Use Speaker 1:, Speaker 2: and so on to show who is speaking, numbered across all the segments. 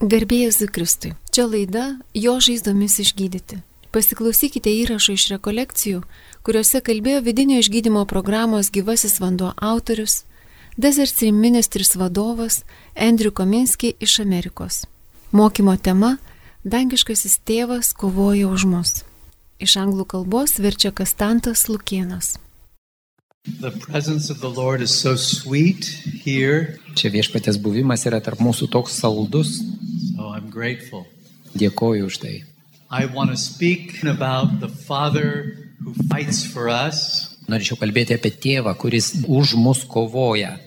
Speaker 1: Garbėjus Zikristui. Čia laida Jo žaizdomis išgydyti. Pasiklausykite įrašų iš rekolekcijų, kuriuose kalbėjo vidinio išgydymo programos gyvasis vanduo autorius, Desert Stream Ministries vadovas Andrew Kominski iš Amerikos. Mokymo tema - Dangiškasis tėvas kovoja už mus. Iš anglų kalbos verčia Kastantas Lukienas.
Speaker 2: The presence of the Lord is so sweet here,
Speaker 3: Čia viešpatės buvimas yra tarp mūsų toks saldus.
Speaker 2: so I'm grateful.
Speaker 3: Dėkoju už tai.
Speaker 2: I want to speak about the Father who fights for us
Speaker 3: Norėčiau kalbėti apie tėvą, kuris už mus kovoja.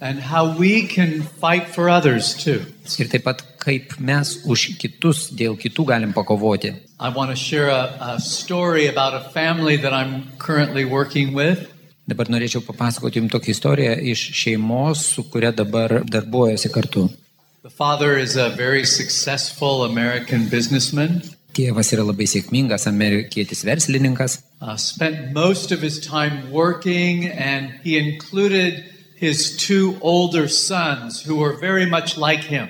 Speaker 2: and how we can fight for others too.
Speaker 3: Ir taip pat, kaip mes už kitus, dėl kitų galim pakovoti.
Speaker 2: I want to share a, a story about a family that I'm currently working with.
Speaker 3: Dabar norėčiau papasakoti jums tokią istoriją iš šeimos, su kuria dabar darbuojasi kartu.
Speaker 2: The father is a very successful American businessman,
Speaker 3: Tėvas yra labai sėkmingas amerikietis verslininkas.
Speaker 2: uh, spent most of his time working, and he included his two older sons who were very much like him.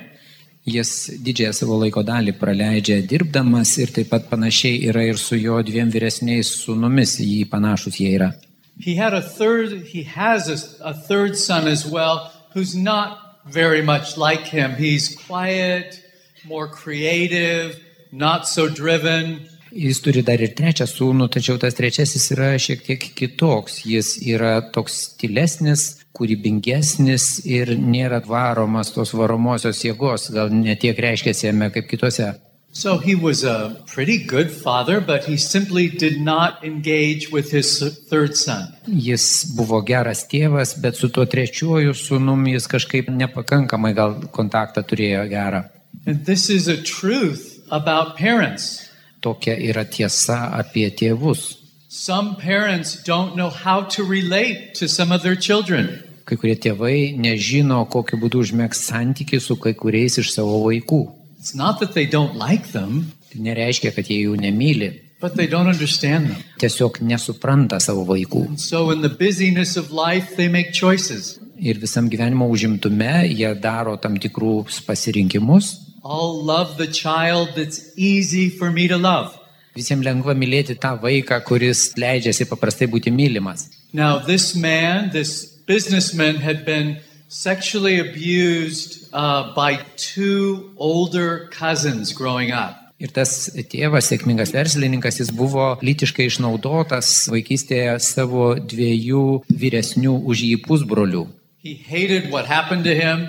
Speaker 3: Jis didžiąją savo laiko dalį praleidžia dirbdamas ir taip pat panašiai yra ir su jo dviem vyresniais sunumis, jį panašus jie yra.
Speaker 2: He had a third. He has a, a third son as well, who's not very much like him. He's quiet, more creative, not so driven.
Speaker 3: Jis turi dar ir trečią sūnų, tačiau tas trečiasis yra šiek tiek kitoks. Jis yra toks stilesnis, kūrybingesnis ir nėra varomas tos varomosios jėgos, gal netiek reiškia jame kaip kitose.
Speaker 2: So he was a pretty good father, but he simply did not engage with his third son.
Speaker 3: Jis buvo geras tėvas, bet su tuo trečiuoju sūnum jis kažkaip nepakankamai gal kontaktą turėjo gerą.
Speaker 2: And this is a truth about parents.
Speaker 3: Tokia yra tiesa apie tėvus.
Speaker 2: Some parents don't know how to relate to some of their children.
Speaker 3: Kai kurie tėvai nežino, kokiu būdu užmėgs santykių su kai kuriais iš savo vaikų.
Speaker 2: It's not that they don't like them,
Speaker 3: Tai nereiškia, kad jie jų nemyli.
Speaker 2: but they don't understand them.
Speaker 3: tiesiog nesupranta savo vaikų.
Speaker 2: So, in the busyness of life, they make choices.
Speaker 3: Ir visam gyvenimo užimtume jie daro tam tikrus pasirinkimus.
Speaker 2: I'll love the child that's easy for me to love.
Speaker 3: Visiems lengva mylėti tą vaiką, kuris leidžiasi paprastai būti mylimas.
Speaker 2: Now, this man, this businessman, had been sexually abused uh, by two older cousins growing up.
Speaker 3: Ir tas tėvas, sėkmingas verslininkas, jis buvo lytiškai išnaudotas vaikystėje savo dviejų vyresnių už jį pusbrolių.
Speaker 2: He hated what happened to him,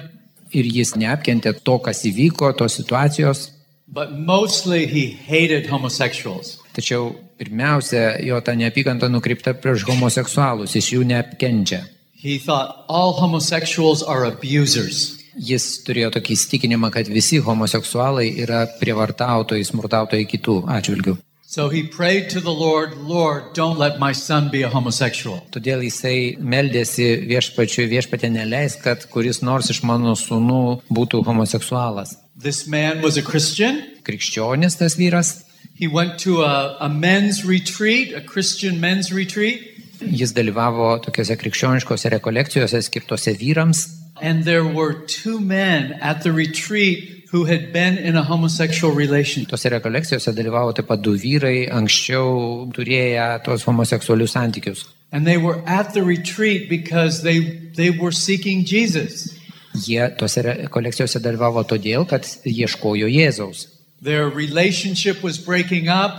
Speaker 3: Ir jis neapkentė to, kas įvyko, tos situacijos.
Speaker 2: but mostly he hated homosexuals.
Speaker 3: Tačiau pirmiausia, jo ta neapykanta nukreipta prieš homoseksualus, jis jų neapkenčia.
Speaker 2: He thought all homosexuals are abusers.
Speaker 3: Jis turėjo tokį įstikinimą, kad visi homoseksualai yra prievartautojai, smurtautojai kitų atžvilgių.
Speaker 2: So he prayed to the Lord, Lord, don't let my son be a homosexual.
Speaker 3: Todėl jisai meldėsi viešpačiui, viešpatė neleis, kad kuris nors iš mano sunų būtų homoseksualas.
Speaker 2: This man was a Christian.
Speaker 3: Krikščionis tas vyras,
Speaker 2: He went to a, a men's retreat, a Christian men's retreat,
Speaker 3: jis dalyvavo tokiuose krikščioniškose rekolekcijose skirtose vyrams.
Speaker 2: and there were two men at the retreat who had been in a homosexual relationship.
Speaker 3: Tose rekolekcijose dalyvavo taip pat du vyrai, anksčiau turėję tos homoseksualius santykius.
Speaker 2: And they were at the retreat because they, they were seeking Jesus.
Speaker 3: Jie tose rekolekcijose dalyvavo todėl, kad ieškojo Jėzaus.
Speaker 2: Their relationship was breaking up,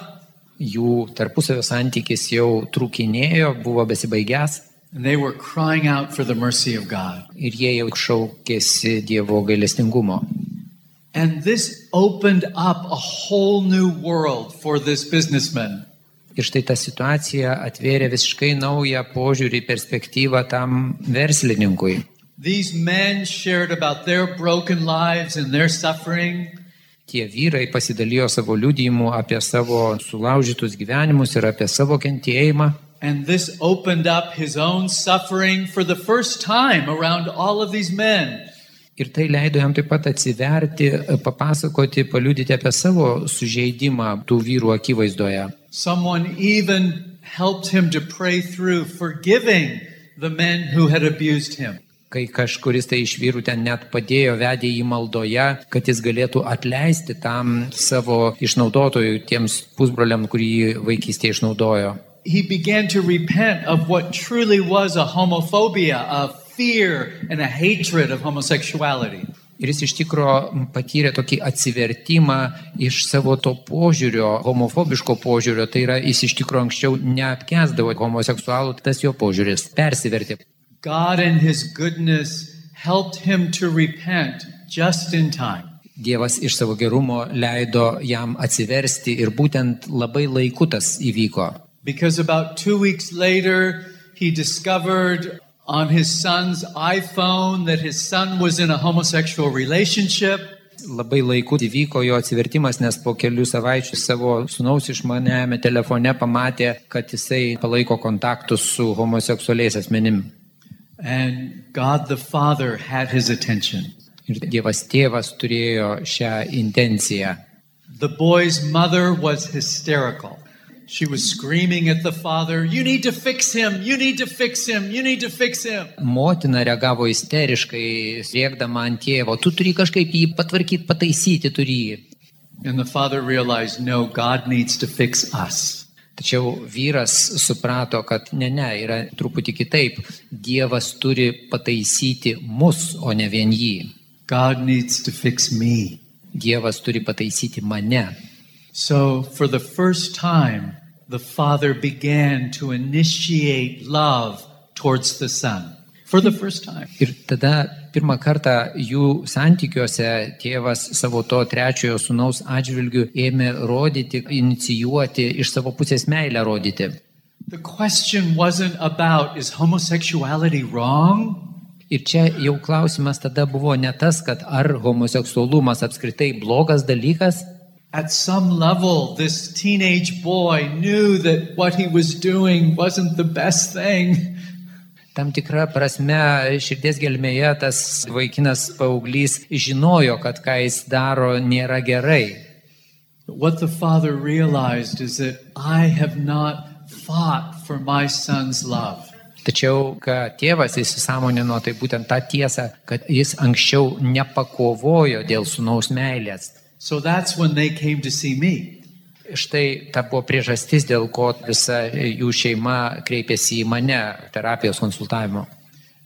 Speaker 3: jų tarpusavio santykis jau trūkinėjo, buvo besibaigęs
Speaker 2: and they were crying out for the mercy of God.
Speaker 3: ir jie jau šaukėsi Dievo gailestingumo.
Speaker 2: And this opened up a whole new world for this businessman.
Speaker 3: Ir štai ta situacija atvėrė visiškai naują požiūrį, perspektyvą tam verslininkui.
Speaker 2: These men shared about their broken lives and their suffering.
Speaker 3: Tie vyrai pasidalijo savo liudijimu apie savo sulaužytus gyvenimus ir apie savo kentėjimą.
Speaker 2: And this opened up his own suffering for the first time around all of these men.
Speaker 3: Ir tai leido jam taip pat atsiverti, papasakoti, paliudyti apie savo sužeidimą tų vyrų akivaizdoje.
Speaker 2: Someone even helped him to pray through forgiving the men who had abused him.
Speaker 3: kai kažkuris tai iš vyrų ten net padėjo, vedė į maldoje, kad jis galėtų atleisti tam savo išnaudotojui, tiems pusbroliam, kurį vaikystėje išnaudojo.
Speaker 2: He began to repent of what truly was a homophobia, a fear, and a hatred of homosexuality.
Speaker 3: Ir jis iš tikro patyrė tokį atsivertimą iš savo to požiūrio, homofobiško požiūrio, tai yra jis iš tikro anksčiau neapkesdavo homoseksualų, tai tas jo požiūris persivertė.
Speaker 2: God, in His goodness, helped him to repent just in time.
Speaker 3: Dievas iš savo gerumo leido jam atsiversti ir būtent labai laiku tas įvyko.
Speaker 2: Because about two weeks later, he discovered on his son's iPhone that his son was in a homosexual relationship.
Speaker 3: Labai laiku įvyko jo atsivertimas, nes po kelių savaičių savo sunaus išmanėme telefone pamatė, kad jisai palaiko kontaktus su homoseksualiais asmenim.
Speaker 2: And God the Father had his attention.
Speaker 3: Ir Dievas tėvas turėjo šią intenciją.
Speaker 2: The boy's mother was hysterical. She was screaming at the father, You need to fix him! You need to fix him! You need to fix him!
Speaker 3: Motina reagavo isteriškai, siekdama ant tėvo, tu turi kažkaip jį patvarkyti, pataisyti turi jį.
Speaker 2: And the father realized, No, God needs to fix us.
Speaker 3: Tačiau vyras suprato, kad ne, ne, yra truputį kitaip. Dievas turi pataisyti mus, o ne vien jį.
Speaker 2: God needs to fix me.
Speaker 3: Dievas turi pataisyti mane.
Speaker 2: So, for the first time, the father began to initiate love towards the son. For the first time.
Speaker 3: Ir tada pirmą kartą jų santykiuose tėvas savo to trečiojo sunaus atžvilgių ėmė rodyti, inicijuoti, iš savo pusės meilę rodyti.
Speaker 2: The question wasn't about is homosexuality wrong?
Speaker 3: Ir čia jau klausimas tada buvo ne tas, kad ar homoseksualumas apskritai blogas dalykas,
Speaker 2: At some level, this teenage boy knew that what he was doing wasn't the best thing.
Speaker 3: Tam tikra prasme, širdies gelmėje tas vaikinas paauglys žinojo, kad ką jis daro nėra gerai.
Speaker 2: But what the father realized is that I have not fought for my son's love.
Speaker 3: Tačiau, ką tėvas įsisamonino, tai būtent tą tiesą, kad jis anksčiau nepakovojo dėl sunaus meilės.
Speaker 2: So that's when they came to see me.
Speaker 3: Štai ta buvo priežastis, dėl ko visa jų šeima kreipėsi į mane terapijos konsultavimo.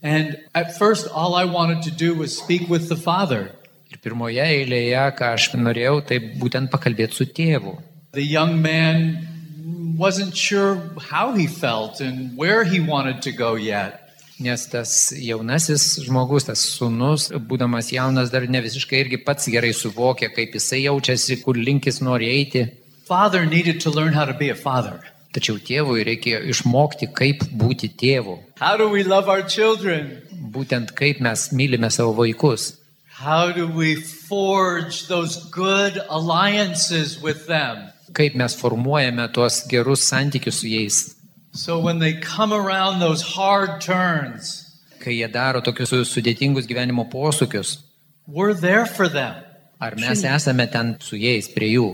Speaker 2: And at first, all I wanted to do was speak with the father.
Speaker 3: Ir pirmoje eilėje, ką aš norėjau, tai būtent pakalbėti su tėvu.
Speaker 2: The young man wasn't sure how he felt and where he wanted to go yet.
Speaker 3: Nes tas jaunasis žmogus, tas sunus, būdamas jaunas, dar ne visiškai irgi pats gerai suvokia, kaip jisai jaučiasi, kur linkis nori eiti.
Speaker 2: Father needed to learn how to be a father.
Speaker 3: Tačiau tėvui reikėjo išmokti, kaip būti tėvu.
Speaker 2: How do we love our children?
Speaker 3: Būtent kaip mes mylime savo vaikus.
Speaker 2: How do we forge those good alliances with them?
Speaker 3: Kaip mes formuojame tuos gerus santykius su jais.
Speaker 2: So when they come around those hard turns,
Speaker 3: Kai jie daro tokius sudėtingus gyvenimo posūkius,
Speaker 2: we're there for them.
Speaker 3: ar mes esame ten su jais, prie jų.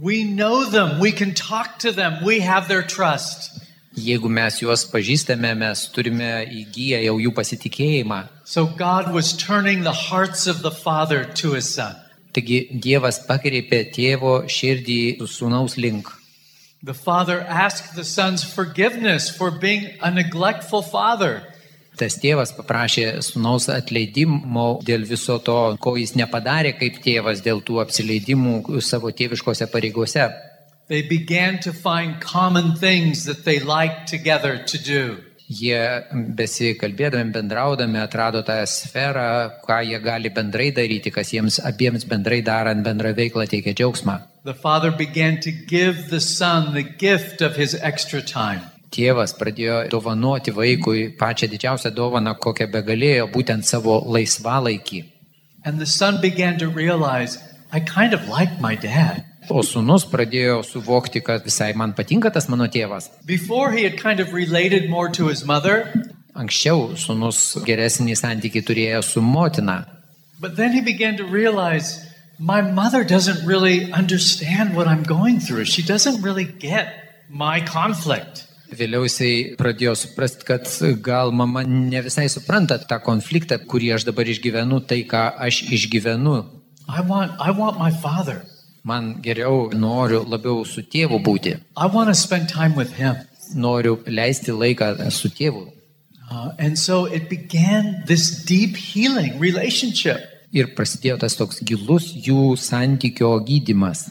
Speaker 2: We know them. We can talk to them. We have their trust.
Speaker 3: Jeigu mes juos pažįstame, mes turime įgyję jau jų pasitikėjimą.
Speaker 2: So God was turning the hearts of the father to his son.
Speaker 3: Taigi Dievas pakreipė tėvo širdį sūnaus link.
Speaker 2: The father asked the son's forgiveness for being a neglectful father.
Speaker 3: Tas tėvas paprašė sūnaus atleidimo dėl viso to, ko jis nepadarė kaip tėvas, dėl tų apsileidimų savo tėviškose pareigose.
Speaker 2: They began to find common things that they liked together to do.
Speaker 3: Jie besikalbėdami, bendraudami atrado tą sferą, ką jie gali bendrai daryti, kas jiems abiems bendrai darant bendrą veiklą teikia džiaugsmą.
Speaker 2: The father began to give the son the gift of his extra time.
Speaker 3: Tėvas pradėjo dovanoti vaikui pačią didžiausią dovaną, kokią begalėjo, būtent savo laisvalaikį.
Speaker 2: And the son began to realize, I kind of like my dad.
Speaker 3: O sunus pradėjo suvokti, kad visai man patinka tas mano tėvas.
Speaker 2: Before he had kind of related more to his mother,
Speaker 3: Anksčiau sunus geresnį santykį turėjo su motina,
Speaker 2: but then he began to realize my mother doesn't really understand what I'm going through. She doesn't really get my conflict.
Speaker 3: Vėliau jisai pradėjo suprasti, kad gal mama ne visai supranta tą konfliktą, kurį aš dabar išgyvenu, tai ką aš išgyvenu.
Speaker 2: I want, I want my father.
Speaker 3: Man geriau noriu labiau su tėvu būti,
Speaker 2: I want to spend time with him.
Speaker 3: noriu leisti laiką su tėvu.
Speaker 2: Uh, and so it began this deep healing relationship.
Speaker 3: Ir prasidėjo tas toks gilus jų santykio gydimas.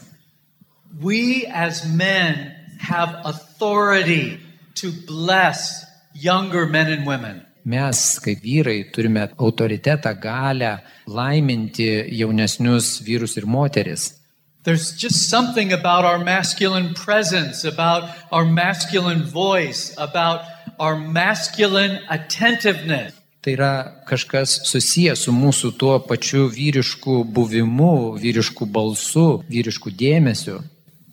Speaker 2: We as men have authority to bless younger men and women.
Speaker 3: Mes, kaip vyrai, turime autoritetą, galę laiminti jaunesnius vyrus ir moteris.
Speaker 2: There's just something about our masculine presence, about our masculine voice, about our masculine attentiveness
Speaker 3: Tai yra kažkas susijęs su mūsų tuo pačiu vyrišku buvimu, vyrišku balsu, vyrišku dėmesiu.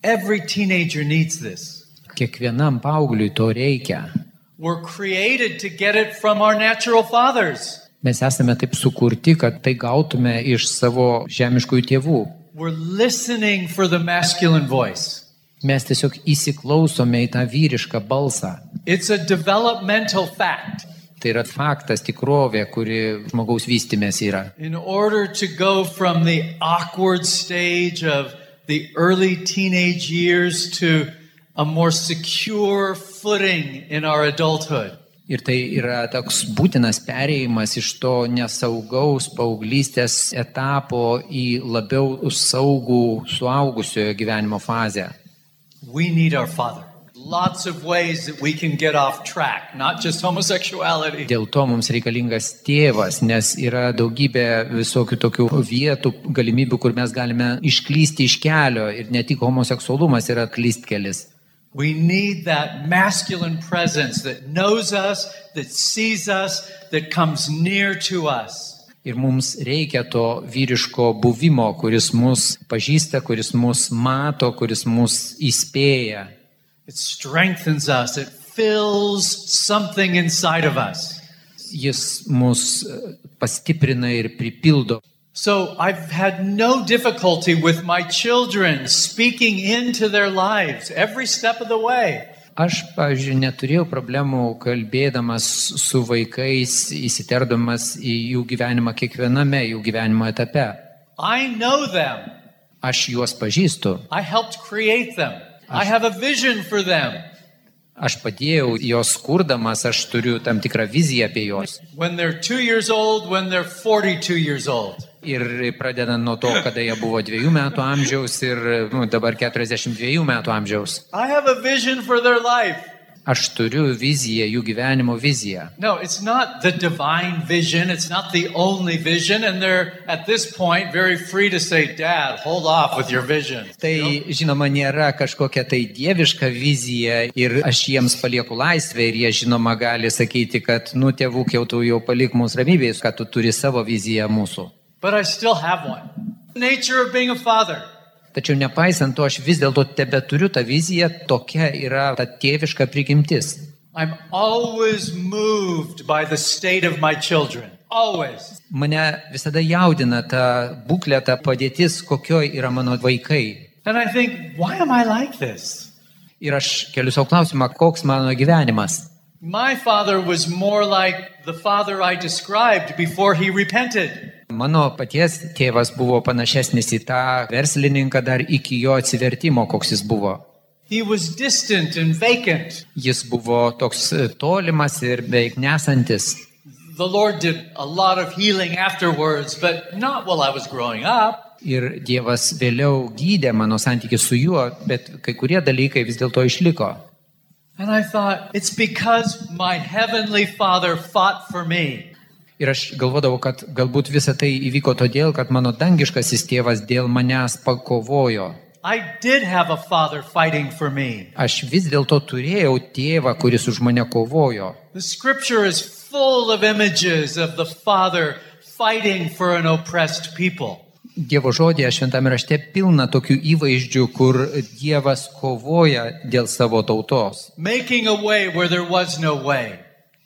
Speaker 2: Every teenager needs this.
Speaker 3: Kiekvienam paaugliui to reikia.
Speaker 2: We're created to get it from our natural fathers.
Speaker 3: Mes esame taip sukurti, kad tai gautume iš savo žemiškųjų tėvų.
Speaker 2: We're listening for the masculine voice.
Speaker 3: Mes tiesiog įsiklausome į tą vyrišką balsą.
Speaker 2: It's a developmental fact.
Speaker 3: Tai yra faktas, tikrovė, kuri žmogaus vystimės yra.
Speaker 2: In order to go from the awkward stage of the early teenage years to a more secure footing in our adulthood,
Speaker 3: Ir tai yra toks būtinas perėjimas iš to nesaugaus paauglystės etapo į labiau saugų suaugusiojo gyvenimo fazę.
Speaker 2: we need our father. Lots of ways that we can get off track, not just homosexuality.
Speaker 3: Dėl to mums reikalingas tėvas, nes yra daugybė visokių tokių vietų, galimybių, kur mes galime išklysti iš kelio ir ne tik homoseksualumas yra klystkelis.
Speaker 2: We need that masculine presence that knows us, that sees us, that comes near to us.
Speaker 3: Ir mums reikia to vyriško buvimo, kuris mus pažįsta, kuris mus mato, kuris mus įspėja.
Speaker 2: It strengthens us, it fills something inside of us.
Speaker 3: jis mus e, pastiprina ir pripildo.
Speaker 2: So I've had no difficulty with my children speaking into their lives every step of the way.
Speaker 3: Aš, pavyzdžiui, neturėjau problemų kalbėdamas su vaikais, įsiterdamas į jų gyvenimą kiekviename jų gyvenimo etape.
Speaker 2: I know them.
Speaker 3: Aš juos pažįstu,
Speaker 2: I helped create them. I have a vision for them.
Speaker 3: aš padėjau juos kurdamas, aš turiu tam tikrą viziją apie juos.
Speaker 2: When they're 2 years old, when they're 42 years old.
Speaker 3: Ir pradedant nuo to, kada jie buvo dviejų metų amžiaus ir nu, dabar 42 metų amžiaus,
Speaker 2: I have a vision for their life.
Speaker 3: aš turiu viziją, jų gyvenimo viziją.
Speaker 2: No, it's not the divine vision. It's not the only vision. And they're at this point very free to say, Dad, hold off with your vision.
Speaker 3: Tai žinoma nėra kažkokia tai dieviška vizija ir aš jiems palieku laisvę ir jie žinoma gali sakyti, kad nu tėvuk jau tu jau palik mūsų ramybės, kad tu turi savo viziją mūsų.
Speaker 2: But I still have one. The nature of being a father.
Speaker 3: Tačiau nepaisant to, aš vis dėlto tebe turiu tą viziją, tokia yra ta tėviška prigimtis.
Speaker 2: I'm always moved by the state of my children. Always.
Speaker 3: Mane visada jaudina ta būklė, ta padėtis, kokioj yra mano vaikai.
Speaker 2: And I think, why am I like this?
Speaker 3: Ir aš keliu savo klausimą, koks mano gyvenimas.
Speaker 2: My father was more like the father I described before he repented.
Speaker 3: Mano paties tėvas buvo panašesnis į tą verslininką dar iki jo atsivertimo, koks jis buvo.
Speaker 2: He was distant and vacant.
Speaker 3: Jis buvo toks e, tolimas ir beveik nesantis.
Speaker 2: The Lord did a lot of healing afterwards, but not while I was growing up.
Speaker 3: Ir Dievas vėliau gydė mano santykius su juo, bet kai kurie dalykai vis dėlto išliko.
Speaker 2: And I thought, it's because my heavenly father fought for me.
Speaker 3: Ir aš galvodavau, kad galbūt visa tai įvyko todėl, kad mano dangiškasis tėvas dėl manęs pakovojo.
Speaker 2: I did have a father fighting for me.
Speaker 3: Aš vis dėlto turėjau tėvą, kuris už mane kovojo.
Speaker 2: The scripture is full of images of the father fighting for an oppressed people.
Speaker 3: Dievo žodėje šventame rašte pilna tokių įvaizdžių, kur Dievas kovoja dėl savo tautos,
Speaker 2: Making a way where there was no way.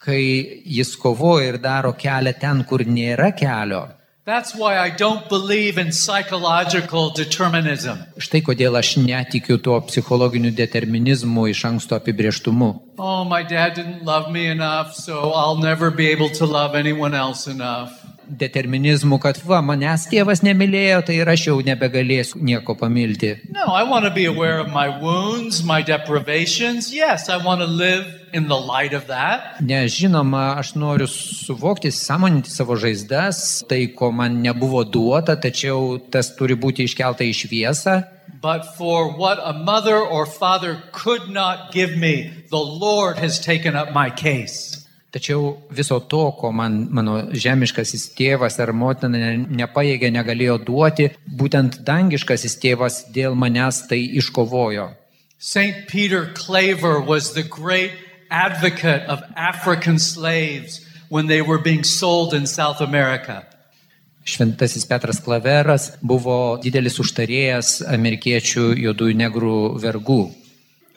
Speaker 3: kai jis kovoja ir daro kelią ten, kur nėra kelio.
Speaker 2: That's why I don't believe in psychological determinism.
Speaker 3: Štai kodėl aš netikiu tuo psichologiniu determinizmu iš anksto apibrieštumu.
Speaker 2: Oh, my dad didn't love me enough, so I'll never be able to love anyone else enough.
Speaker 3: Determinizmu, kad va, manęs tėvas nemylėjo, tai ir aš jau nebegalėsiu nieko pamilti.
Speaker 2: No, I want to be aware of my wounds, my deprivations. Yes, I want to live in the light of that.
Speaker 3: Nes žinoma, aš noriu suvokti, sąmoninti savo žaizdas, tai ko man nebuvo duota, tačiau tas turi būti iškelta į šviesą.
Speaker 2: But for what a mother or father could not give me, the Lord has taken up my case.
Speaker 3: Tačiau viso to, ko man mano žemiškasis tėvas ar motina ne- nepajėgė, negalėjo duoti, būtent dangiškasis tėvas dėl manęs tai iškovojo.
Speaker 2: St. Peter Claver was the great advocate of African slaves when they were being sold in South America.
Speaker 3: Šventasis Petras Klaveras buvo didelis užtarėjas amerikiečių juodųjų negrų vergų.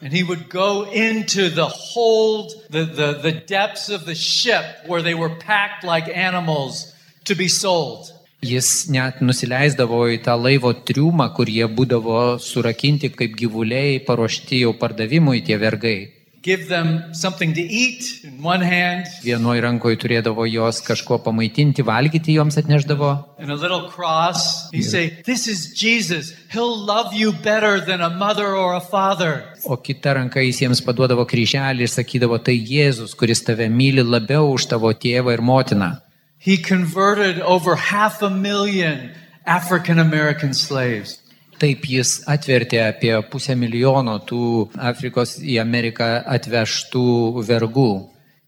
Speaker 2: And he would go into the hold, the, the, the depths of the ship where they were packed like animals to be sold.
Speaker 3: Jis net nusileisdavo į tą laivo triumą, kur jie būdavo surakinti kaip gyvuliai, paruošti jau pardavimui tie vergai.
Speaker 2: Give them something to eat in one hand
Speaker 3: Vienoje rankoje turėdavo jos kažko pamaitinti, valgyti joms atneždavo.
Speaker 2: and a little cross. You say, This is Jesus. He'll love you better than a mother or a father.
Speaker 3: O kita ranka jis jiems paduodavo kryželį ir sakydavo, tai Jėzus, kuris tave myli labiau už tavo tėvą ir motiną.
Speaker 2: He converted over half a million African American slaves.
Speaker 3: Taip jis atvertė apie pusę milijono tų Afrikos į Ameriką atvežtų vergų.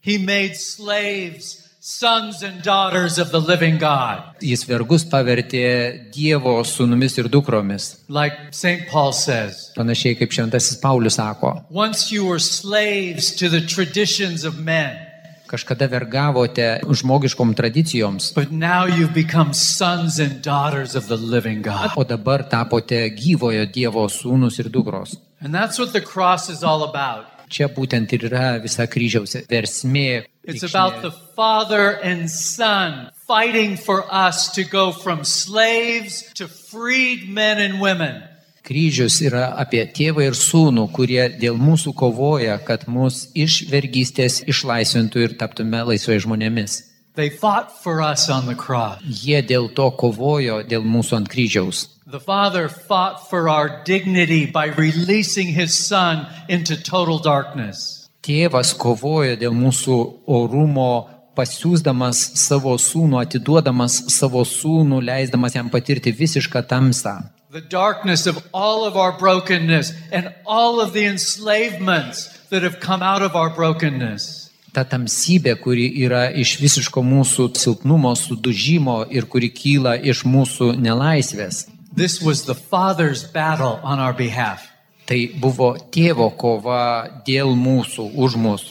Speaker 2: He made slaves sons and daughters of the living God.
Speaker 3: Jis vergus pavertė Dievo sūnumis ir dukromis.
Speaker 2: Like St. Paul says,
Speaker 3: Panašiai kaip Šventasis Paulius sako,
Speaker 2: once you were slaves to the traditions of men,
Speaker 3: kažkada vergavote žmogiškom tradicijoms,
Speaker 2: but now you've become sons and daughters of the living God.
Speaker 3: o dabar tapote gyvojo Dievo sūnus ir dukros.
Speaker 2: And that's what the cross is all about.
Speaker 3: Čia būtent ir yra visa kryžiaus versmė.
Speaker 2: It's
Speaker 3: reikšmė.
Speaker 2: about the Father and Son fighting for us to go from slaves to freed men and women.
Speaker 3: Kryžius yra apie tėvą ir sūnų, kurie dėl mūsų kovoja, kad mus iš vergystės išlaisvintų ir taptume laisvai žmonėmis.
Speaker 2: They fought for us on the cross.
Speaker 3: Jie dėl to kovojo, dėl mūsų ant kryžiaus.
Speaker 2: The Father fought for our dignity by releasing his Son into total darkness.
Speaker 3: Tėvas kovoja dėl mūsų orumo, pasiūsdamas savo sūnų, atiduodamas savo sūnų, leisdamas jam patirti visišką tamsą.
Speaker 2: The darkness of all of our brokenness and all of the enslavements that have come out of our brokenness.
Speaker 3: Ta tamsybė, kuri yra iš visiško mūsų silpnumo, sudužimo ir kuri kyla iš mūsų nelaisvės.
Speaker 2: This was the Father's battle on our behalf.
Speaker 3: Tai buvo tėvo kova dėl mūsų, už mus.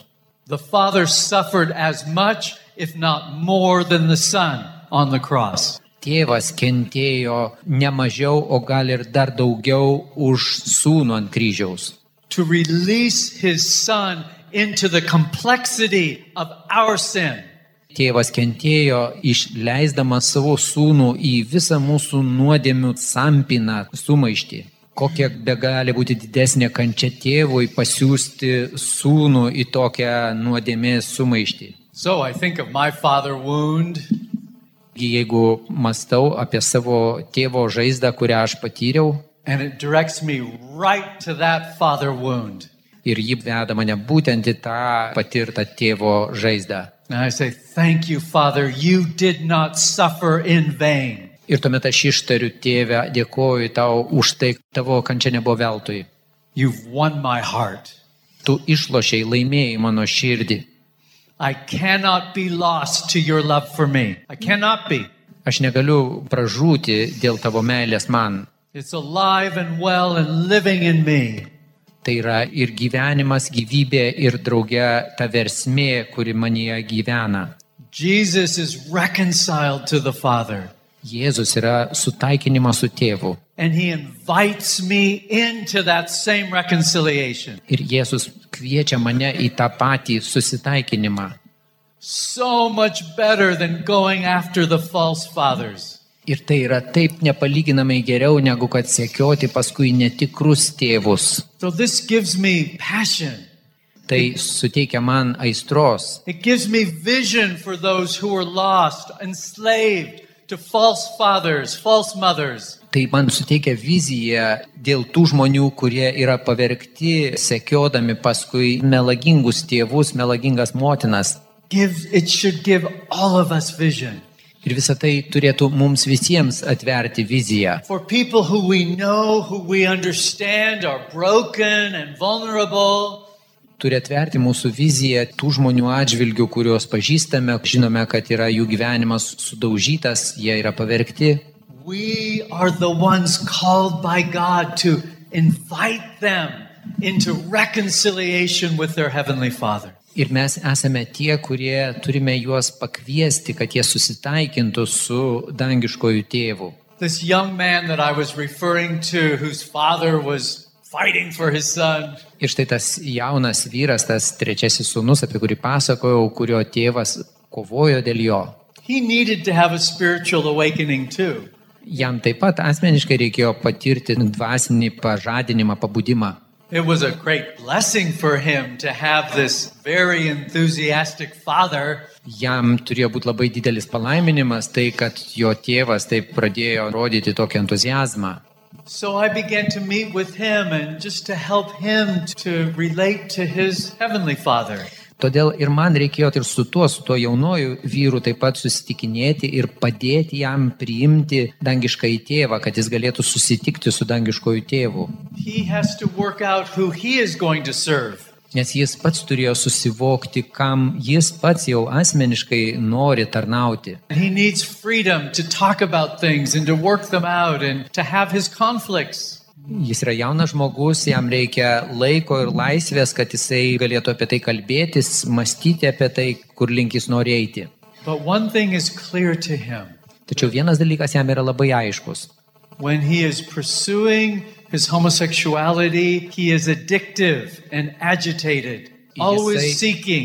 Speaker 2: The Father suffered as much, if not more, than the Son on the cross.
Speaker 3: Tėvas kentėjo ne mažiau, o gal ir dar daugiau už sūnų ant kryžiaus.
Speaker 2: To release his Son into the complexity of our sin.
Speaker 3: Tėvas kentėjo išleisdamas savo sūnų į visą mūsų nuodėmių sampiną sumaištį. Kokia be gali būti didesnė kančia tėvui pasiūsti sūnų į tokią nuodėmės sumaištį.
Speaker 2: So I think of my father wound.
Speaker 3: Jeigu mastau apie savo tėvo žaizdą, kurią aš patyriau,
Speaker 2: And it directs me right to that father wound.
Speaker 3: ir ji veda mane būtent į tą patirtą tėvo žaizdą.
Speaker 2: And I say, Thank you, Father, you did not suffer in vain.
Speaker 3: Ir tuomet aš ištariu tėvę, dėkoju tau už tai, tavo kančia nebuvo veltui.
Speaker 2: You've won my heart.
Speaker 3: Tu išlošiai laimėjai mano širdį.
Speaker 2: I cannot be lost to your love for me. I cannot be.
Speaker 3: Aš negaliu pražūti dėl tavo meilės man.
Speaker 2: It's alive and well and living in me.
Speaker 3: Tai yra ir gyvenimas, gyvybė ir drauge ta versmė, kuri manyje gyvena.
Speaker 2: Jesus is reconciled to the Father,
Speaker 3: Jėzus yra sutaikinimas su tėvu.
Speaker 2: and he invites me into that same reconciliation.
Speaker 3: Ir Jėzus kviečia mane į tą patį susitaikinimą.
Speaker 2: So much better than going after the false fathers.
Speaker 3: Ir tai yra taip nepalyginamai geriau, negu kad sekioti paskui netikrus tėvus.
Speaker 2: So this gives me passion.
Speaker 3: Tai suteikia man aistros,
Speaker 2: It gives me vision for those who are lost, enslaved to false fathers, false mothers.
Speaker 3: tai man suteikia viziją dėl tų žmonių, kurie yra pavergti, sekiodami paskui melagingus tėvus, melagingas motinas.
Speaker 2: Gives it should give all of us vision
Speaker 3: Ir visa tai turėtų mums visiems atverti viziją.
Speaker 2: for people who we know, who we understand are broken and vulnerable.
Speaker 3: Turi atverti mūsų viziją tų žmonių atžvilgių, kuriuos pažįstame, žinome, kad yra jų gyvenimas sudaužytas, jie yra pavergti.
Speaker 2: We are the ones called by God to invite them into reconciliation with their heavenly Father.
Speaker 3: Ir mes esame tie, kurie turime juos pakviesti, kad jie susitaikintų su dangiškojų tėvu.
Speaker 2: This young man that I was referring to, whose father was fighting for his son,
Speaker 3: Ir štai tas jaunas vyras, tas trečiasis sūnus, apie kurį pasakojau, kurio tėvas kovojo dėl jo.
Speaker 2: he needed to have a spiritual awakening too.
Speaker 3: Jam taip pat asmeniškai reikėjo patirti dvasinį pažadinimą, pabudimą.
Speaker 2: It was a great blessing for him to have this very enthusiastic father
Speaker 3: Jam turėjo būti labai didelis palaiminimas tai, kad jo tėvas taip pradėjo rodyti tokį entuzijazmą.
Speaker 2: So I began to meet with him and just to help him to relate to his heavenly father.
Speaker 3: Todėl ir man reikėjo ir su tuo, su tuo jaunoju vyru taip pat susitikinėti ir padėti jam priimti dangišką į tėvą, kad jis galėtų susitikti su dangiškoju tėvu.
Speaker 2: He has to work out who he is going to serve.
Speaker 3: Nes jis pats turėjo susivokti, kam jis pats jau asmeniškai nori tarnauti.
Speaker 2: And he needs freedom to talk about things and to work them out and to have his conflicts.
Speaker 3: Jis yra jaunas žmogus, jam reikia laiko ir laisvės, kad jisai galėtų apie tai kalbėtis, mąstyti apie tai, kur link jis nori eiti.
Speaker 2: But one thing is clear to him
Speaker 3: Tačiau vienas dalykas jam yra labai aiškus.
Speaker 2: when he is pursuing his homosexuality, he is addictive and agitated,
Speaker 3: Yes, I-
Speaker 2: always seeking,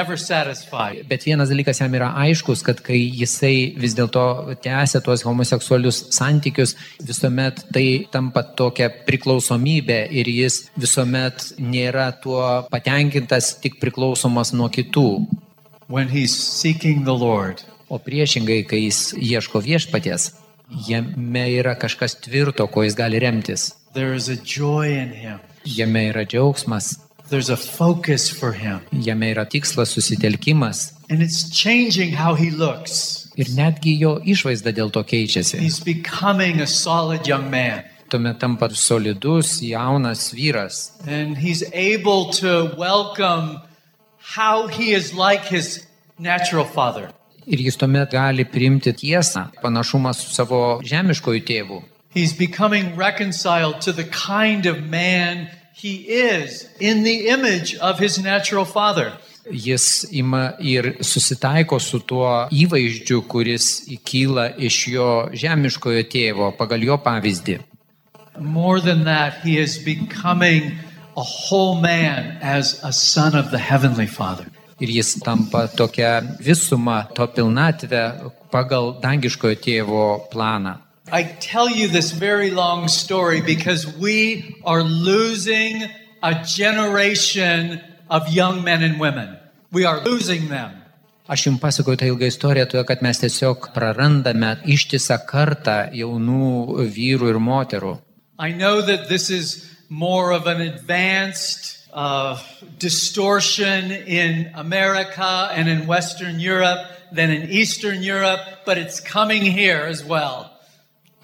Speaker 2: never satisfied.
Speaker 3: Bet vienas dalykas jam yra aiškus, kad kai jisai vis dėlto tęsia tuos homoseksualius santykius, visuomet tai tampa tokia priklausomybė ir jis visuomet nėra tuo patenkintas, tik priklausomas nuo kitų.
Speaker 2: When he's seeking the Lord,
Speaker 3: O priešingai, kai jis ieško viešpaties, jame yra kažkas tvirto, ko jis gali remtis.
Speaker 2: there is a joy in him.
Speaker 3: Jame yra džiaugsmas,
Speaker 2: There's a focus for him.
Speaker 3: jame yra tikslas, susitelkimas
Speaker 2: And it's changing how he looks.
Speaker 3: ir netgi jo išvaizda dėl to keičiasi.
Speaker 2: He's becoming a solid young man.
Speaker 3: tuomet tampa solidus, jaunas vyras.
Speaker 2: And he's able to welcome how he is like his natural father.
Speaker 3: Ir jis tuomet gali priimti tiesą, panašumą su savo žemiškojų tėvų.
Speaker 2: He's becoming reconciled to the kind of man he is in the image of his natural father.
Speaker 3: Jis ima ir susitaiko su tuo įvaizdžiu, kuris įkyla iš jo žemiškojo tėvo, pagal jo pavyzdį.
Speaker 2: More than that, he is becoming a whole man as a son of the heavenly father.
Speaker 3: Ir jis tampa tokia visuma, to pilnatvė pagal dangiškojo tėvo planą.
Speaker 2: I tell you this very long story because we are losing a generation of young men and women. We are losing them.
Speaker 3: Aš jums pasakoju tą ilgą istoriją, todėl kad mes tiesiog prarandame ištisą kartą jaunų vyrų ir moterų.
Speaker 2: I know that this is more of an advanced uh, distortion in America and in Western Europe than in Eastern Europe, but it's coming here as well.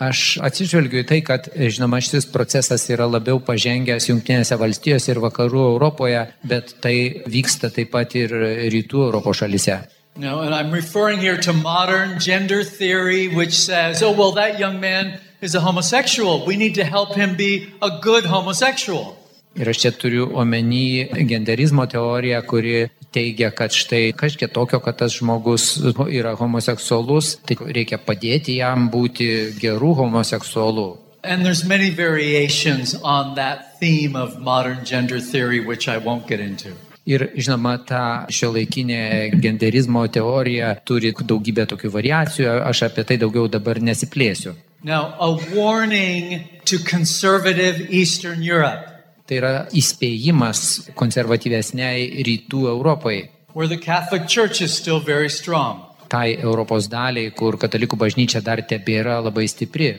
Speaker 3: Aš atsižvelgiu į tai, kad, žinoma, šis procesas yra labiau pažengęs Junktinėse valstijose ir vakarų Europoje, bet tai vyksta taip pat ir rytų Europos šalise.
Speaker 2: No, and I'm referring here to modern gender theory, which says, oh, well, that young man is a homosexual. We need to help him be a good homosexual.
Speaker 3: Ir aš čia turiu omeny genderizmo teoriją, kuri teigia, kad štai kažkiek tokio, kad tas žmogus yra homoseksualus, tai reikia padėti jam būti gerų homoseksualų.
Speaker 2: And there's many variations on that theme of modern gender theory, which I won't get into.
Speaker 3: Ir žinoma, ta šio laikinė genderizmo teorija turi daugybę tokių variacijų, aš apie tai daugiau dabar nesiplėsiu.
Speaker 2: Now, a warning to conservative Eastern Europe,
Speaker 3: Tai yra įspėjimas konservatyvesniai rytų Europai,
Speaker 2: where the Catholic Church is still very strong.
Speaker 3: tai Europos daliai, kur katalikų bažnyčia dar tebėra labai stipri.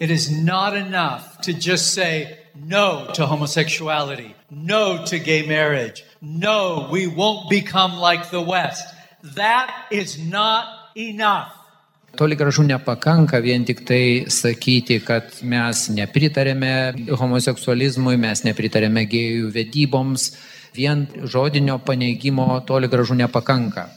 Speaker 2: It is not enough to just say no to homosexuality, no to gay marriage, no, we won't become like the West. That is not enough.
Speaker 3: Toli gražu nepakanka vien tik tai sakyti, kad mes nepritarėme homoseksualizmui, mes nepritarėme gėjų vedyboms, vien žodinio paneigimo toli gražu nepakanka.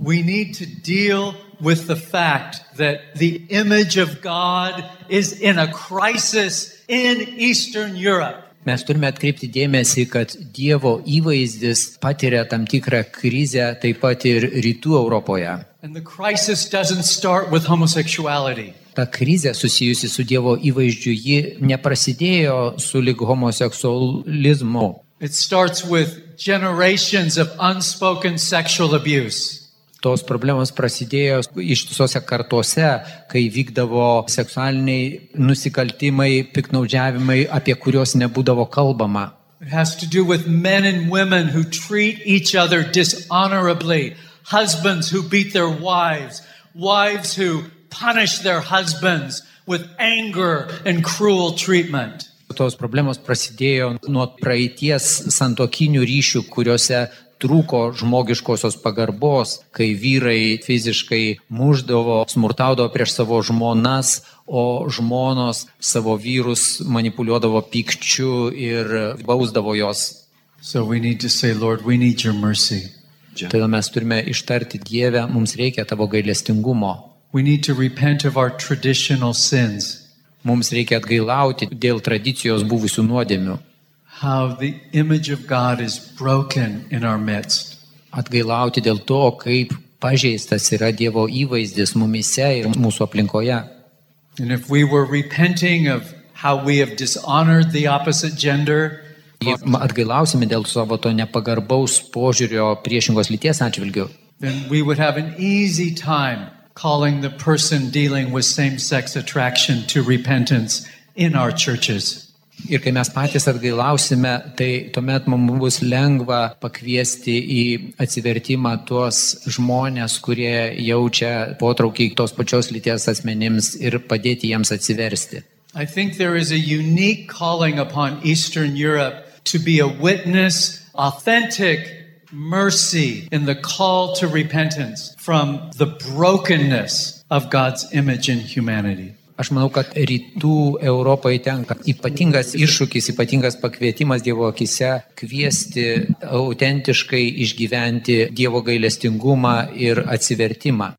Speaker 2: We need to deal with the fact that the image of God is in a crisis in Eastern Europe.
Speaker 3: Mes turime atkreipti dėmesį, kad Dievo įvaizdis patiria tam tikrą krizę taip pat ir rytų Europoje.
Speaker 2: And the crisis doesn't start with homosexuality.
Speaker 3: Ta krizė susijusi su Dievo įvaizdžiu, ji neprasidėjo su lig homoseksualizmu.
Speaker 2: It starts with generations of unspoken sexual abuse.
Speaker 3: Tos problemos prasidėjo ištisose kartuose, kai vykdavo seksualiniai nusikaltimai, piknaudžiavimai, apie kuriuos nebūdavo kalbama.
Speaker 2: It has to do with men and women who treat each other dishonorably, husbands who beat their wives, wives who punish their husbands with anger and cruel treatment.
Speaker 3: Tos problemos prasidėjo nuo praeities santokinių ryšių, kuriuose trūko žmogiškosios pagarbos, kai vyrai fiziškai muždavo, smurtaudavo prieš savo žmonas, o žmonos savo vyrus manipuliuodavo pykčiu ir bausdavo jos.
Speaker 2: So we need to say, Lord, we need your mercy.
Speaker 3: Todėl mes turime ištarti Dievę, mums reikia tavo gailestingumo.
Speaker 2: We need to repent of our traditional sins,
Speaker 3: Mums reikia atgailauti dėl tradicijos buvusių nuodėmių.
Speaker 2: how the image of God is broken in our midst.
Speaker 3: atgailauti dėl to, kaip pažeistas yra Dievo įvaizdis mumise ir mūsų aplinkoje.
Speaker 2: And if we were repenting of how we have dishonored the opposite gender,
Speaker 3: Jei atgailausime dėl savo to nepagarbaus požiūrio priešingos lyties atžvilgių,
Speaker 2: then we would have an easy time calling the person dealing with same sex attraction to repentance in our churches.
Speaker 3: Ir kai mes patys atgailausime, tai tuomet mums bus lengva pakviesti į atsivertimą tuos žmonės, kurie jaučia potraukį tos pačios lyties asmenims ir padėti jiems atsiversti.
Speaker 2: I think there is a unique calling upon Eastern Europe to be a witness, authentic mercy in the call to repentance from the brokenness of God's image in humanity.
Speaker 3: Aš manau, kad rytų Europai tenka ypatingas iššūkis, ypatingas pakvietimas Dievo akise kviesti autentiškai išgyventi Dievo gailestingumą ir atsivertimą.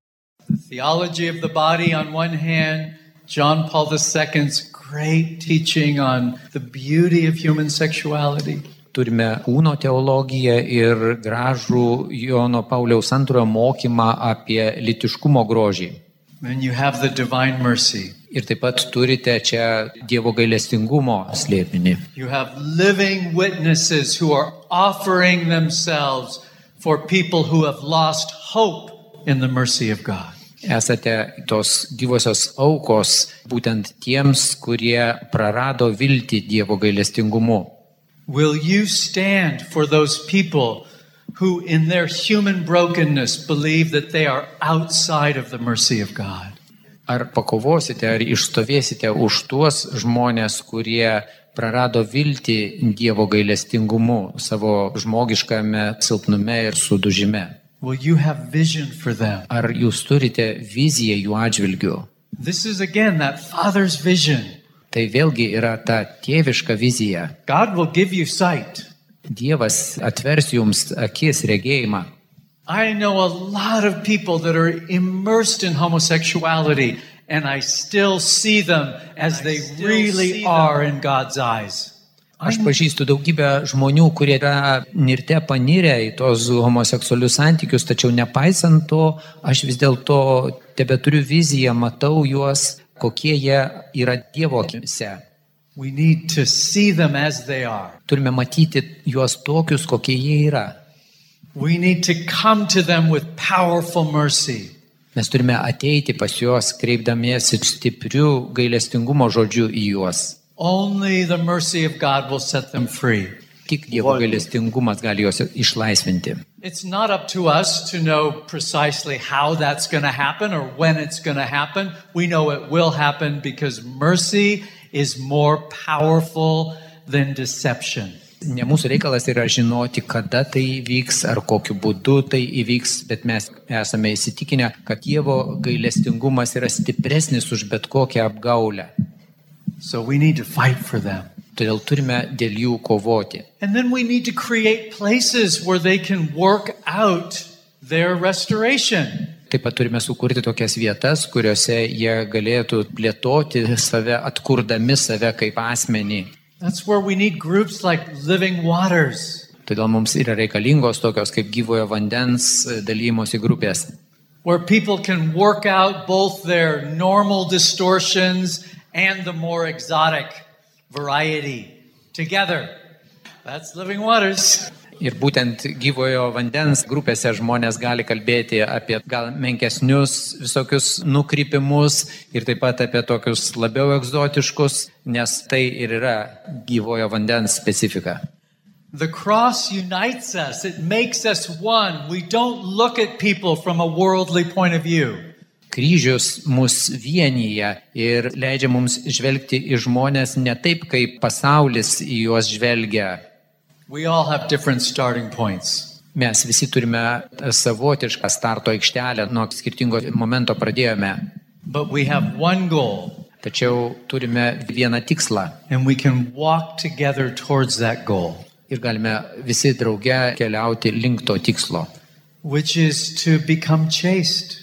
Speaker 2: The theology of the body, on one hand, John Paul II's great teaching on the beauty of human sexuality.
Speaker 3: Turime kūno teologiją ir gražų Jono Pauliaus antrojo mokymą apie litiškumo grožį.
Speaker 2: Then you have the divine mercy.
Speaker 3: Ir taip pat turite čia Dievo gailestingumo slėpinį.
Speaker 2: You have living witnesses who are offering themselves for people who have lost hope in the mercy of God.
Speaker 3: Esate tos gyvosios aukos būtent tiems, kurie prarado viltį Dievo gailestingumu.
Speaker 2: Will you stand for those people who, in their human brokenness, believe that they are outside of the mercy of God?
Speaker 3: Ar pakovosite, ar išstovėsite už tuos žmonės, kurie prarado viltį Dievo gailestingumu savo žmogiškame silpnume ir sudužime?
Speaker 2: Will you have vision for them?
Speaker 3: Ar jūs turite viziją jų atžvilgių?
Speaker 2: This is again that Father's vision.
Speaker 3: Tai vėlgi yra ta tėviška vizija.
Speaker 2: God will give you sight.
Speaker 3: Dievas atvers jums akis regėjimą.
Speaker 2: I know a lot of people that are immersed in homosexuality, and I still see them as they really are in God's eyes.
Speaker 3: Aš pažįstu daugybę žmonių, kurie yra nirte panirę į tos homoseksualius santykius, tačiau nepaisant to, aš vis dėlto tebe turiu viziją, matau juos, kokie jie yra Dievo akimise.
Speaker 2: We need to see them as they are.
Speaker 3: Turime matyti juos tokius, kokie jie yra.
Speaker 2: We need to come to them with powerful mercy.
Speaker 3: Mes turime ateiti pas juos, kreipdamiesi stiprių gailestingumo žodžių į juos.
Speaker 2: Only the mercy of God will set them free.
Speaker 3: Tik Dievo gailestingumas gali juos išlaisvinti.
Speaker 2: It's not up to us to know precisely how that's going to happen or when it's going to happen. We know it will happen because mercy is more powerful than deception.
Speaker 3: Ne mūsų reikalas yra žinoti, kada tai įvyks ar kokiu būdu tai įvyks, bet mes esame įsitikinę, kad Dievo gailestingumas yra stipresnis už bet kokią apgaulę.
Speaker 2: So we need to fight for them.
Speaker 3: Todėl turime dėl jų kovoti.
Speaker 2: And then we need to create places where they can work out their restoration.
Speaker 3: Taip pat turime sukurti tokias vietas, kuriuose jie galėtų plėtoti save, atkurdami save kaip asmenį.
Speaker 2: That's where we need groups like Living Waters,
Speaker 3: Todėl mums yra reikalingos tokios kaip gyvojo vandens e, dalymosi grupės,
Speaker 2: where people can work out both their normal distortions and the more exotic variety together. That's Living Waters.
Speaker 3: Ir būtent gyvojo vandens grupėse žmonės gali kalbėti apie gal menkesnius visokius nukrypimus ir taip pat apie tokius labiau egzotiškus, nes tai ir yra gyvojo vandens specifika.
Speaker 2: The cross unites us, it makes us one. We don't look at people from a worldly point of view.
Speaker 3: Kryžius mus vienyje ir leidžia mums žvelgti į žmonės ne taip, kaip pasaulis į juos žvelgia.
Speaker 2: We all have different starting points.
Speaker 3: Mes visi turime savotišką starto aikštelę, nuo skirtingo momento pradėjome,
Speaker 2: But we have one goal,
Speaker 3: tačiau turime vieną tikslą
Speaker 2: and we can walk together towards that goal,
Speaker 3: ir galime visi drauge keliauti link to tikslo.
Speaker 2: which is to become chaste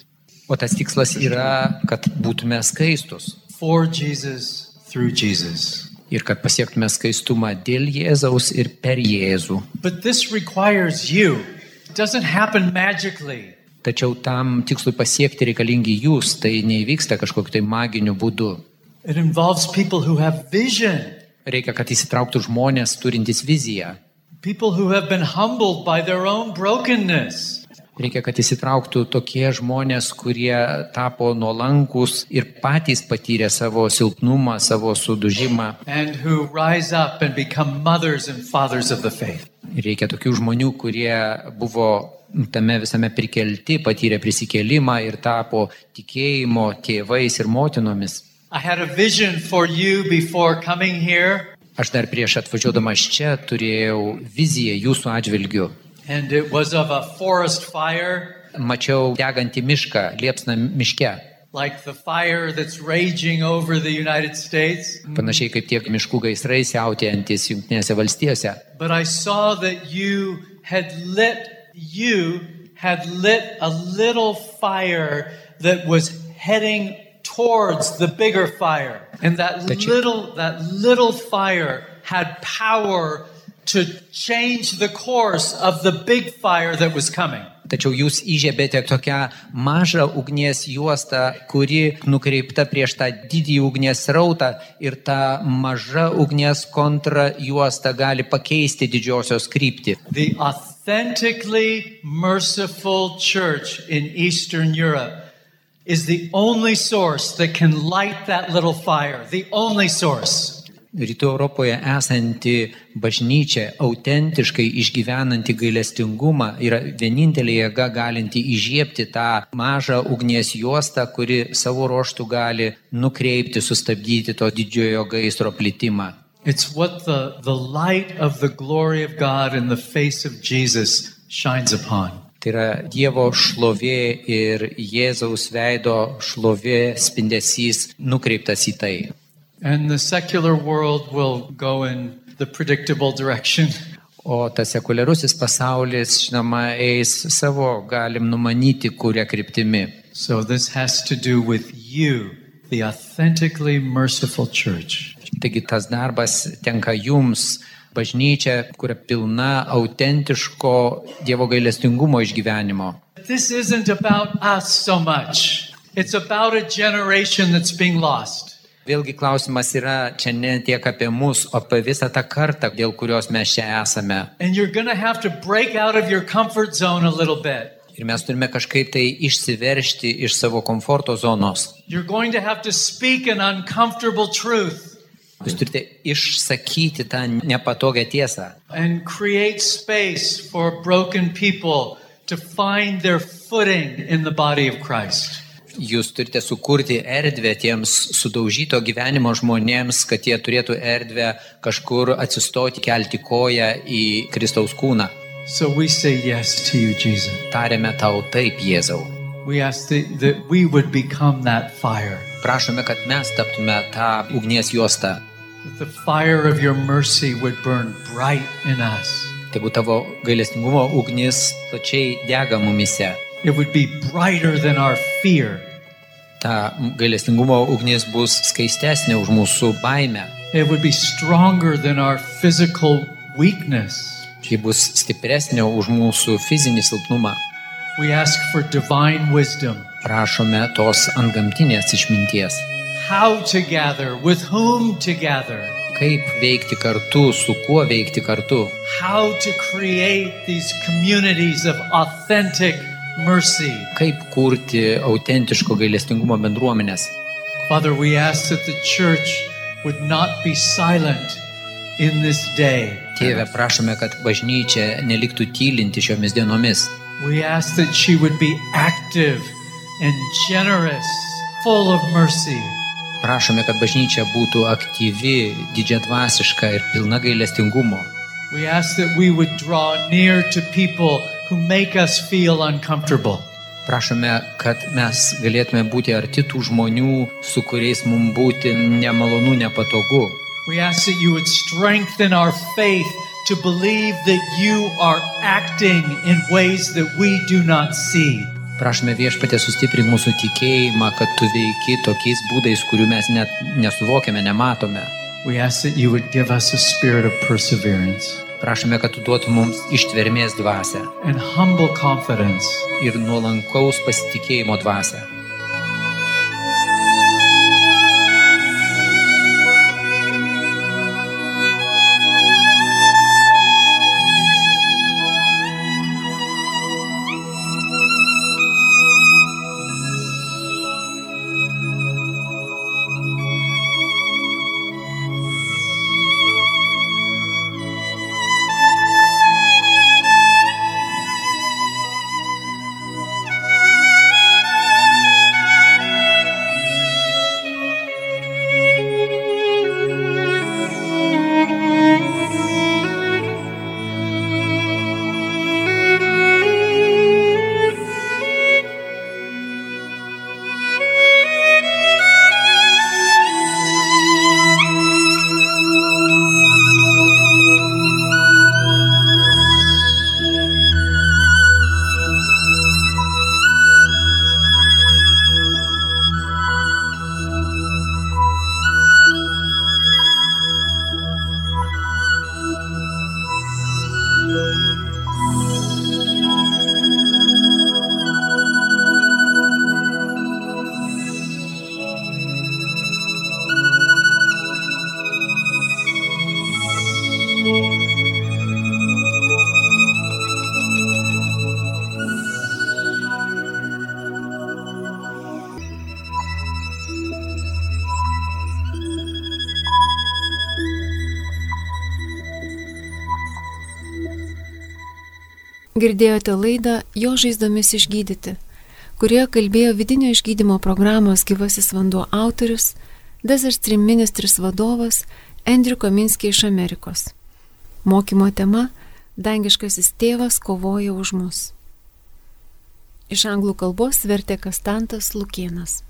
Speaker 3: O tas tikslas yra, kad būtume skaistus
Speaker 2: for Jesus through Jesus.
Speaker 3: ir kad pasiektume skaistumą dėl Jėzaus ir per Jėzų.
Speaker 2: But this requires you. It doesn't happen magically.
Speaker 3: Tačiau tam tikslui pasiekti reikalingi jūs, tai neįvyksta kažkokiu tai maginiu būdu.
Speaker 2: It involves people who have vision,
Speaker 3: Reikia, kad įsitrauktų žmonės turintys viziją.
Speaker 2: people who have been humbled by their own brokenness.
Speaker 3: Reikia, kad įsitrauktų tokie žmonės, kurie tapo nuolankus ir patys patyrė savo silpnumą, savo sudužimą.
Speaker 2: and who rise up and become mothers and fathers of the faith.
Speaker 3: Reikia tokių žmonių, kurie buvo tame visame prikelti, patyrė prisikėlimą ir tapo tikėjimo tėvais ir motinomis.
Speaker 2: I had a vision for you before coming here,
Speaker 3: Aš dar prieš atvažiuodamas čia turėjau viziją jūsų atžvilgiu.
Speaker 2: and it was of a forest fire,
Speaker 3: Mačiau degantį mišką, liepsną miške,
Speaker 2: like the fire that's raging over the United States.
Speaker 3: panašiai kaip tiek miškų gaisrai siautėjantis Junktinėse valstijose.
Speaker 2: But I saw that you had lit, you had lit a little fire that was heading towards the bigger fire. And that
Speaker 3: That you-
Speaker 2: little, that little fire had power to change the course of the big fire that was coming.
Speaker 3: Tačiau jūs įžiebėte tokią mažą ugnies juostą, kuri nukreipta prieš tą didįjį ugnies rautą ir ta maža ugnies kontra juosta gali pakeisti didžiosios kryptį.
Speaker 2: The authentically merciful church in Eastern Europe is the only source that can light that little fire. The only source.
Speaker 3: Rytų Europoje esanti bažnyčia, autentiškai išgyvenanti gailestingumą, yra vienintelė jėga galinti įžiebti tą mažą ugnies juostą, kuri savo ruoštų gali nukreipti, sustabdyti to didžiojo gaisro plitimą.
Speaker 2: It's what the, the light of the glory of God in the face of Jesus shines upon.
Speaker 3: Tai yra Dievo šlovė ir Jėzaus veido šlovė spindesys nukreiptas į tai.
Speaker 2: And the secular world will go in the predictable direction.
Speaker 3: O tas sekuliarusis pasaulis, žinoma, eis savo, galim numanyti, kuria kryptimi.
Speaker 2: So this has to do with you, the authentically merciful church.
Speaker 3: Taigi tas darbas tenka jums, bažnyčia, kuria pilna autentiško Dievo gailestingumo išgyvenimo.
Speaker 2: This isn't about us so much, it's about a generation that's being lost.
Speaker 3: Vėlgi klausimas yra čia ne tiek apie mus, o apie visą tą kartą, dėl kurios mes čia esame.
Speaker 2: And you're going to have to break out of your comfort zone a little bit.
Speaker 3: Ir mes turime kažkaip tai išsiveršti iš savo komforto zonos.
Speaker 2: You're going to have to speak an uncomfortable truth
Speaker 3: Jūs turite išsakyti tą nepatogią tiesą
Speaker 2: and create space for broken people to find their footing in the body of Christ.
Speaker 3: Jūs turite sukurti erdvę tiems sudaužyto gyvenimo žmonėms, kad jie turėtų erdvę kažkur atsistoti, kelti koją į Kristaus kūną.
Speaker 2: So we say yes to you, Jesus.
Speaker 3: Tarėme tau taip, Jėzau.
Speaker 2: We ask that, that we would become that fire,
Speaker 3: Prašome, kad mes taptume tą ugnies juostą.
Speaker 2: that the fire of your mercy would burn bright in us.
Speaker 3: Tegu tavo gailestingumo ugnis plačiai dega mumise.
Speaker 2: It would be brighter than our fear.
Speaker 3: Ta gailestingumo ugnis bus skaistesnė už mūsų baimę.
Speaker 2: It would be stronger than our physical weakness.
Speaker 3: Ji bus stipresnė už mūsų fizinį silpnumą.
Speaker 2: We ask for divine wisdom
Speaker 3: Prašome tos antgamtinės išminties.
Speaker 2: how to gather, with whom to gather,
Speaker 3: Kaip veikti kartu, su kuo veikti kartu.
Speaker 2: how to create these communities of authentic mercy.
Speaker 3: Kaip kurti autentiško gailestingumo bendruomenės.
Speaker 2: Father, we ask that the church would not be silent in this day.
Speaker 3: Tėve, prašome, kad bažnyčia neliktų tylinti šiomis dienomis.
Speaker 2: We ask that she would be active and generous, full of mercy.
Speaker 3: Prašome, kad bažnyčia būtų aktyvi, didžiadvasiška ir pilna gailestingumo.
Speaker 2: We ask that we would draw near to people who make us feel uncomfortable.
Speaker 3: Prašome, kad mes galėtume būti arti tų žmonių, su kuriais mums būti nemalonu, nepatogu.
Speaker 2: We ask that you would strengthen our faith to believe that you are acting in ways that we do not see.
Speaker 3: Prašome viešpatė sustiprink mūsų tikėjimą, kad tu veiki tokiais būdais, kurių mes net nesuvokiame, nematome.
Speaker 2: We ask that you would give us a spirit of perseverance
Speaker 3: Prašome, kad tu duotum mums ištvermės dvasę
Speaker 2: and humble confidence.
Speaker 3: ir nuolankaus pasitikėjimo dvasę.
Speaker 1: Girdėjote laidą Jo žaizdomis išgydyti, kurioje kalbėjo vidinio išgydymo programos gyvasis vanduo autorius, Dezerstrim ministris vadovas Andrew Kominski iš Amerikos. Mokymo tema - Dangiškasis tėvas kovoja už mus. Iš anglų kalbos vertė Kastantas Lukienas.